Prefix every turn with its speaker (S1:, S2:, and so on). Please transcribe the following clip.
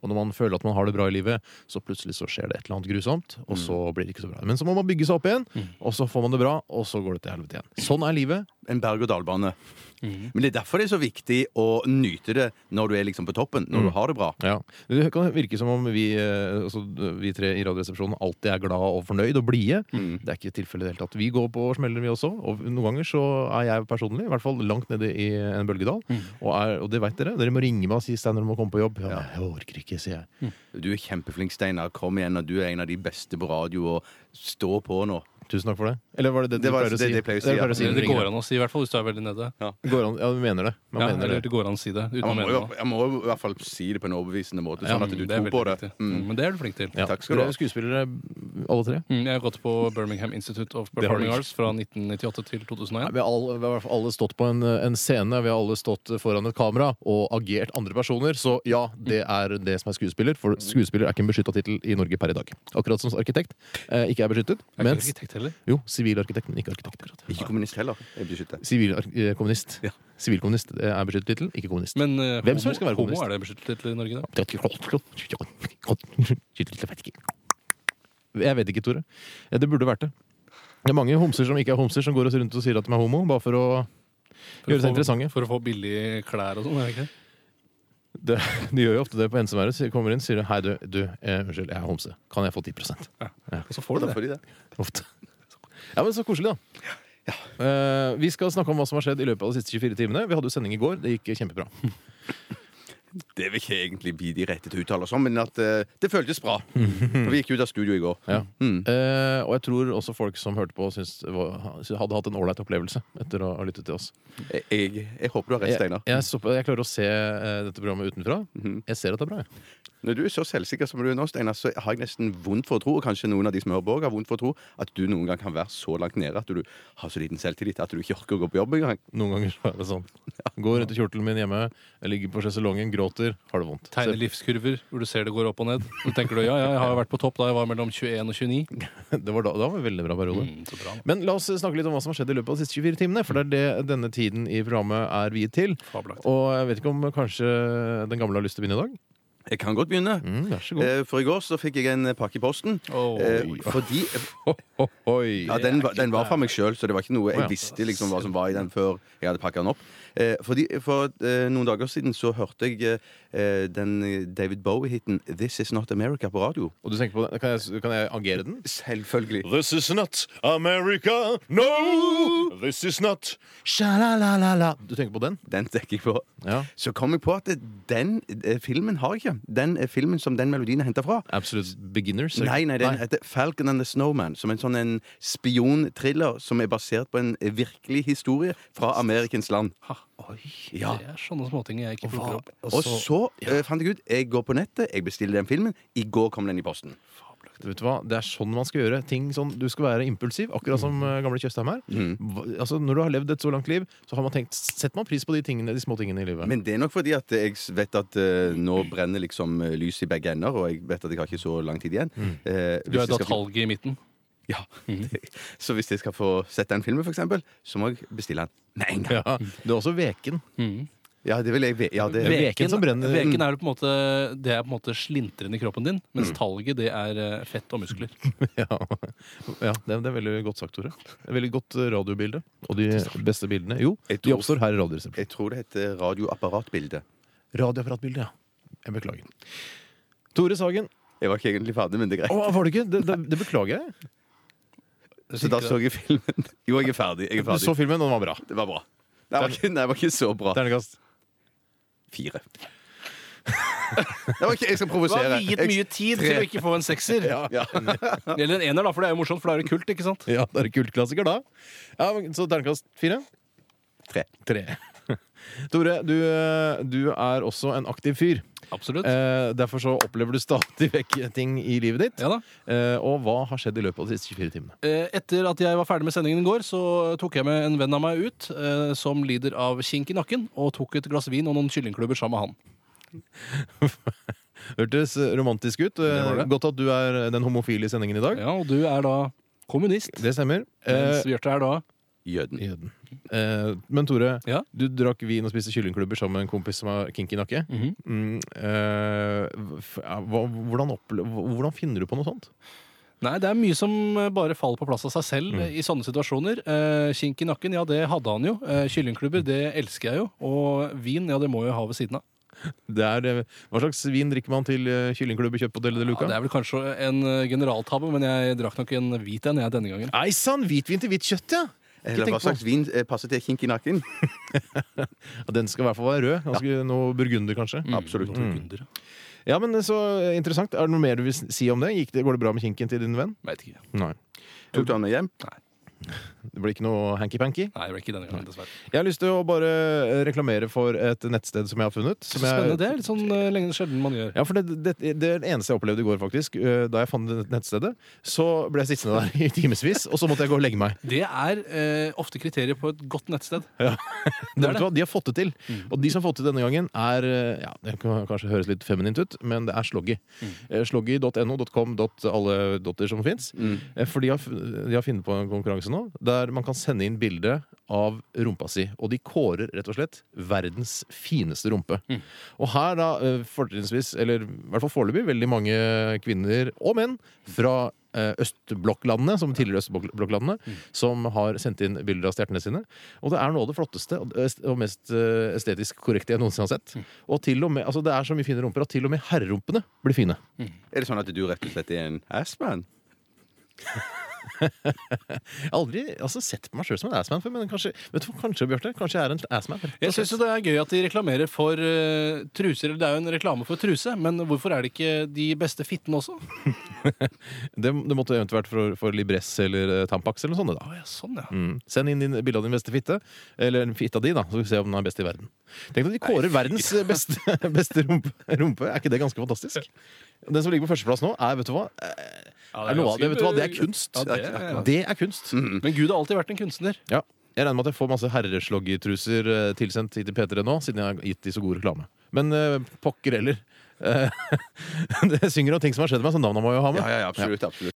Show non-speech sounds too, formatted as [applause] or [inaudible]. S1: Og når man føler at man har det bra i livet, så plutselig så skjer det et eller annet grusomt, og så blir det ikke så bra. Men så må man bygge seg opp igjen, og så får man det bra, og så går det til helvete igjen. Sånn er livet.
S2: En berg-og-dal-bane.
S3: Mhm.
S2: Men det er derfor det er så viktig å nyte det når du er liksom på toppen,
S3: Mm.
S2: når du har det bra.
S1: Ja. Det kan virke som om vi, eh, altså, vi tre i Radioresepsjonen alltid er glad og fornøyd og blide.
S3: Mm.
S1: Det er ikke tilfellet i det hele tatt. Vi går på smeller, vi også. Og noen ganger så er jeg personlig, i hvert fall langt nede i en bølgedal, og, er, og det veit dere. Dere må ringe meg og si 'Steinar, du må komme på jobb'. Mm. Ja, jeg orker ikke, sier jeg.
S2: Du er kjempeflink, Steinar. Kom igjen, og du er en av de beste på radio. Og stå på nå.
S1: Tusen takk for det. Eller var det det,
S2: Det
S1: du
S2: var-
S1: pleier å
S2: det-
S1: si?
S2: det pleier å si,
S1: du
S2: ja.
S1: når du
S3: Det
S1: ringer.
S3: går an å si, i hvert fall hvis du er veldig nede.
S1: Går an. Ja, du mener det. Man
S3: Ja,
S1: mener
S3: eller
S1: det.
S3: det går an å si det uten
S2: Jeg
S3: å
S2: må,
S3: mene
S2: jo,
S3: det.
S2: jeg må jo i hvert fall si det på en overbevisende måte,
S3: Ja,
S2: sånn at du
S3: det er
S2: tror
S3: veldig
S2: på det.
S3: viktig.
S2: Mm.
S3: Mm, Men det er du flink til.
S1: Ja.
S2: Takk skal du
S1: Dere
S2: ha.
S1: er skuespillere, alle tre.
S3: Mm, Jeg har gått på Birmingham Institute of
S1: har du
S3: Performing
S1: ikke.
S3: Arts fra 1998 til
S1: Nei,
S3: 2001.
S1: Vi har alle, vi har i hvert fall alle stått på en, en scene, vi har alle stått foran et kamera og agert andre personer. Så ja, det er det som er skuespiller, for skuespiller er ikke en beskytta tittel i Norge per i dag. Akkurat som arkitekt eh, ikke er beskyttet.
S3: Jeg er ikke
S1: Mens,
S3: arkitekt heller.
S1: jo, sivilarkitekt, men ikke arkitekt.
S3: Mm.
S2: Ikke kommunist heller. Jeg blir skyttet.
S1: Sivilkommunist.
S2: Ja.
S1: eh, Sivilkommunist det er beskyttet tittel, ikke kommunist.
S3: Men eh,
S1: Hvem som helst skal være
S3: homo,
S1: kommunist.
S3: homo er det beskyttet tittel i Norge, da?
S1: Jeg vet ikke, Tore. Ja, Det burde vært det. Det er mange homser som ikke er homser, som går rundt og sier at de er homo, bare for å
S3: For å
S1: Gjøre seg
S3: få-
S1: interessante.
S3: For å få billige klær og sånn, er det ikke det?
S1: Det, de gjør jo ofte det på NCMR. så de Kommer inn sier de, hei, du, du eh, unnskyld, jeg er homse. Kan jeg få 10
S3: Og så får du
S2: Da
S3: det.
S2: får de det.
S1: Ofte. Ja, men Så koselig, da. Eh, vi skal snakke om hva som har skjedd i løpet av de siste 24 timene. Vi hadde jo sending i går. Det gikk kjempebra.
S2: Det vil ikke egentlig bli de rette til å uttale oss om, men at eh, det føltes
S3: [laughs]
S2: bra. For vi gikk ut av studio i går.
S1: Ja.
S2: Mm.
S1: Eh, og jeg tror også folk som hørte på, syns, var, hadde hatt en ålreit opplevelse etter å ha lyttet til oss.
S2: Jeg, jeg, jeg håper du har rett,
S1: Jeg,
S2: Steinar. Mhm.
S1: jeg, så, jeg klarer å se eh, dette programmet utenfra. Jeg ser at det er bra. jeg.
S2: Når du er så selvsikker som du er nå, Steinar, så har jeg nesten vondt for å tro, og kanskje noen av de som hører på òg har vondt for å tro, at du noen gang kan være så langt nede at du har så liten selvtillit at du ikke orker å gå på jobb engang.
S1: Noen ganger så er det
S2: [laughs]
S1: sånn. Går rundt i kjortelen min hjemme, jeg ligger på sjeselongen, gråter, har det vondt.
S3: Tegne livskurver hvor du ser det går opp og ned. Så tenker du ja, ja, jeg har jo vært på topp da jeg var mellom 21 og 29.
S1: Så, [laughs] det var da, da var det en veldig bra periode.
S3: Mm, så bra, da.
S1: Men la oss snakke litt om hva som har skjedd i løpet av de siste 24 timene. For det er det denne tiden i programmet er viet til.
S3: Fabelaktig.
S1: Og jeg vet ikke om kanskje den gamle har lyst til å begynne i dag?
S2: Jeg kan godt begynne.
S1: Mm, vær så god.
S2: Eh, For i går så fikk jeg en pakke i posten.
S3: Oi.
S2: eh, fordi
S1: Oi.
S2: ja, den, var- den var fra meg sjøl, så det var ikke
S1: Å,
S2: noe
S1: ja.
S2: jeg visste liksom hva som var i den før jeg hadde pakka den opp. Eh, fordi For eh, noen dager siden så hørte jeg eh, den David Bowie-hiten 'This Is Not America' på radio.
S1: Og du tenker på den? Kan jeg, kan jeg agere den?
S2: Selvfølgelig.
S1: This is not America, no! This is not Sha-la-la-la-la. Du tenker på den?
S2: Den tenker jeg på.
S1: Ja.
S2: Så kom jeg på at den eh, filmen har jeg ikke. Den eh, filmen som den melodien er henta fra.
S1: Absolute Beginners?
S2: Nei, nei, den heter Falcon and the Snowman, som en sånn en spionthriller som er basert på en eh, virkelig historie fra Amerikens land.
S3: Ha,
S2: Ja.
S3: Det er sånne småting jeg ikke plukker opp.
S2: Og så eh, fant jeg ut Jeg går på nettet, jeg bestiller den filmen. I går kom den i posten.
S1: Vet du hva? Det er sånn man skal gjøre ting. Sånn, du skal være impulsiv, akkurat som eh, gamle Tjøstheim her. Hva- Altså, når du har levd et så langt liv, så har man tenkt Setter man pris på de, tingene, de små tingene i livet?
S2: Men det er nok fordi at jeg vet at eh, nå brenner liksom eh, lys i begge ender, og jeg vet at jeg har ikke så lang tid igjen. Eh,
S3: Mm. Du
S2: hvis
S3: er
S2: jeg skal-
S3: datalget i midten.
S2: Ja. Så hvis jeg skal få sett den filmen, for eksempel, så må jeg bestille den med en gang.
S1: ja, du er også veken.
S3: Mm.
S2: Ja, det vil jeg ve- ja, det,
S1: Ve- veken som brenner.
S3: veken er jo på en måte, det er på en måte slintren i kroppen din, mens
S1: Mm.
S3: talget det er eh, fett og muskler.
S1: [laughs] ja. ja, det er, det er veldig godt sagt, Tore. Det er Veldig godt eh, radiobilde. Og de beste bildene Jo,
S2: Jeg
S1: de
S2: tror-
S1: oppstår her i Radioresepsjonen.
S2: Jeg tror det heter radioapparatbilde.
S1: Radioapparatbilde, ja. Jeg beklager. Tore Sagen.
S2: Jeg var ikke egentlig ferdig, men det er greit.
S1: Å, var det ikke? Det, det, det beklager jeg.
S2: Så da så jeg filmen. [laughs] Jo, jeg er ferdig. Jeg er
S1: Du så
S2: ferdig.
S1: filmen, og den var bra.
S2: Det var bra. Nei, det var ikke, nei, det var ikke så bra.
S1: Ternekast.
S2: Fire. [laughs] Det var ikke, jeg skal
S3: Du har
S2: provosere.
S3: viet mye tid til å ikke få en
S1: [laughs]
S3: sekser.
S2: Ja. [laughs]
S3: Eller en ener, da, for det er jo morsomt, for da er det kult, ikke sant?
S1: Ja, det er en kultklassiker, da. Ja, men- så ternekast fire.
S2: Tre.
S1: Tre. [laughs] Tore, du, eh, du er også en aktiv fyr.
S3: Absolutt.
S1: Eh, derfor så opplever du stadig vekk ting i livet ditt.
S3: Ja da.
S1: Eh, og hva har skjedd i løpet av de siste 24 timene?
S3: Eh, Etter at jeg var ferdig med sendingen i går, så tok jeg med en venn av meg ut eh, som lider av kink i nakken, og tok et glass vin og noen kyllingklubber sammen med han.
S1: Hørtes romantisk ut. Eh,
S3: Det var det.
S1: Godt at du er den homofile i sendingen i dag.
S3: Ja, Og du er da kommunist,
S1: Det stemmer. Eh,
S3: mens Bjarte er da
S2: Jøden.
S1: Jøden. Eh, men Tore,
S3: Ja?
S1: du drakk vin og spiste kyllingklubber sammen med en kompis som har kinky nakke. Mm, eh, f- ja, hva- hvordan, opple hvordan finner du på noe sånt?
S3: Nei, det er mye som eh, bare faller på plass av seg
S1: Mm.
S3: selv eh, i sånne situasjoner. Eh, Kink i nakken, ja, det hadde han jo. Eh, Kyllingklubber, det elsker jeg jo. Og vin, ja, det må jeg jo ha ved siden av.
S1: Det er, eh, hva slags vin drikker man til eh, kyllingklubber kjøpt på Delle de
S3: Ja,
S1: Luca?
S3: det er vel kanskje en eh, generaltabbe, men jeg drakk nok en hvit en jeg denne gangen.
S1: Nei sann, hvitvin til hvitt kjøtt, ja! Ikke
S2: Eller
S1: tenk
S2: hva
S1: på-
S2: slags vin eh, passer til kink i nakken?
S1: Ja, Den skal i hvert fall være rød. Ganske Noe burgunder, kanskje.
S3: Mm.
S2: Absolutt.
S1: Mm.
S3: Burgunder, ja.
S1: Ja, men eh, Så eh, interessant. Er det noe mer du vil s- si om det? Gikk det går det bra med kinken til din venn?
S3: Vet ikke.
S1: Nei.
S2: Tok du han med hjem?
S1: Det ble ikke noe hanky-panky?
S3: Nei, det ble ikke denne gangen, dessverre.
S1: Jeg har lyst til å bare eh, reklamere for et nettsted som jeg har funnet. Som jeg,
S3: Spennende. Det er litt sånn eh, lenge sjelden man gjør.
S1: Ja, for det, det, det er det eneste jeg opplevde i går, faktisk. Eh, Da jeg fant det nettstedet, så ble jeg sittende der i timevis, og så måtte jeg gå og legge meg.
S3: Det er eh, ofte kriterier på et godt nettsted.
S1: Det Mm. vet du hva, De har fått det til. Og de som har fått det til denne gangen, er eh, ja, Det kan kanskje høres litt feminint ut, men det er sloggy. Eh, Sloggy.no, .com, dot alle dotter som fins. For de har, f- de har funnet på en konkurranse nå der man kan sende inn bilde av rumpa si. Og de kårer rett og slett verdens fineste rumpe. Og her da, eh, fortrinnsvis, eller i hvert fall foreløpig, veldig mange kvinner og menn fra eh, østblokklandene, som tidligere østblokklandene, som har sendt inn bilder av stjertene sine. Og det er noe av det flotteste og og mest eh, estetisk korrekte jeg noensinne har sett. Og til og med, altså Det er så mye fine rumper at til og med herrerumpene blir fine.
S2: Er det sånn at du rett og slett er en assman?
S1: Jeg har aldri altså, sett på meg sjøl som en assman før, men kanskje, vet du, hva, kanskje Bjørte, kanskje jeg er en assman. rett og
S3: Jeg syns
S1: slett.
S3: det er gøy at de reklamerer for eh, truser. eller Det er jo en reklame for truse, men hvorfor er det ikke de beste fittene også?
S1: det, det måtte eventuelt vært for, for Libress eller eh, Tampax eller noe sånt. da.
S3: Å, ja, sånn, ja.
S1: Mm. Send inn din, bilde av din beste fitte, eller fitta di, da, så skal vi se om den er best i verden. Tenk at de kårer verdens beste, [laughs] beste rumpe, rumpe. Er ikke det ganske fantastisk? Den som ligger på førsteplass nå, er vet du hva,
S3: Ja,
S1: er noe av det, vet du hva, det er kunst.
S3: Ja, det, er- Mm.
S1: Det er kunst.
S3: [laughs] Men Gud har alltid vært en kunstner.
S1: Ja. Jeg regner med at jeg får masse herresloggytruser eh, tilsendt hit til P3 nå, siden jeg har gitt de så god reklame. Men eh, [laughs] pokker heller. Eh, det synger om ting som har skjedd meg, så navnet må jeg jo ha med.
S2: Ja, ja, ja, absolutt, absolutt.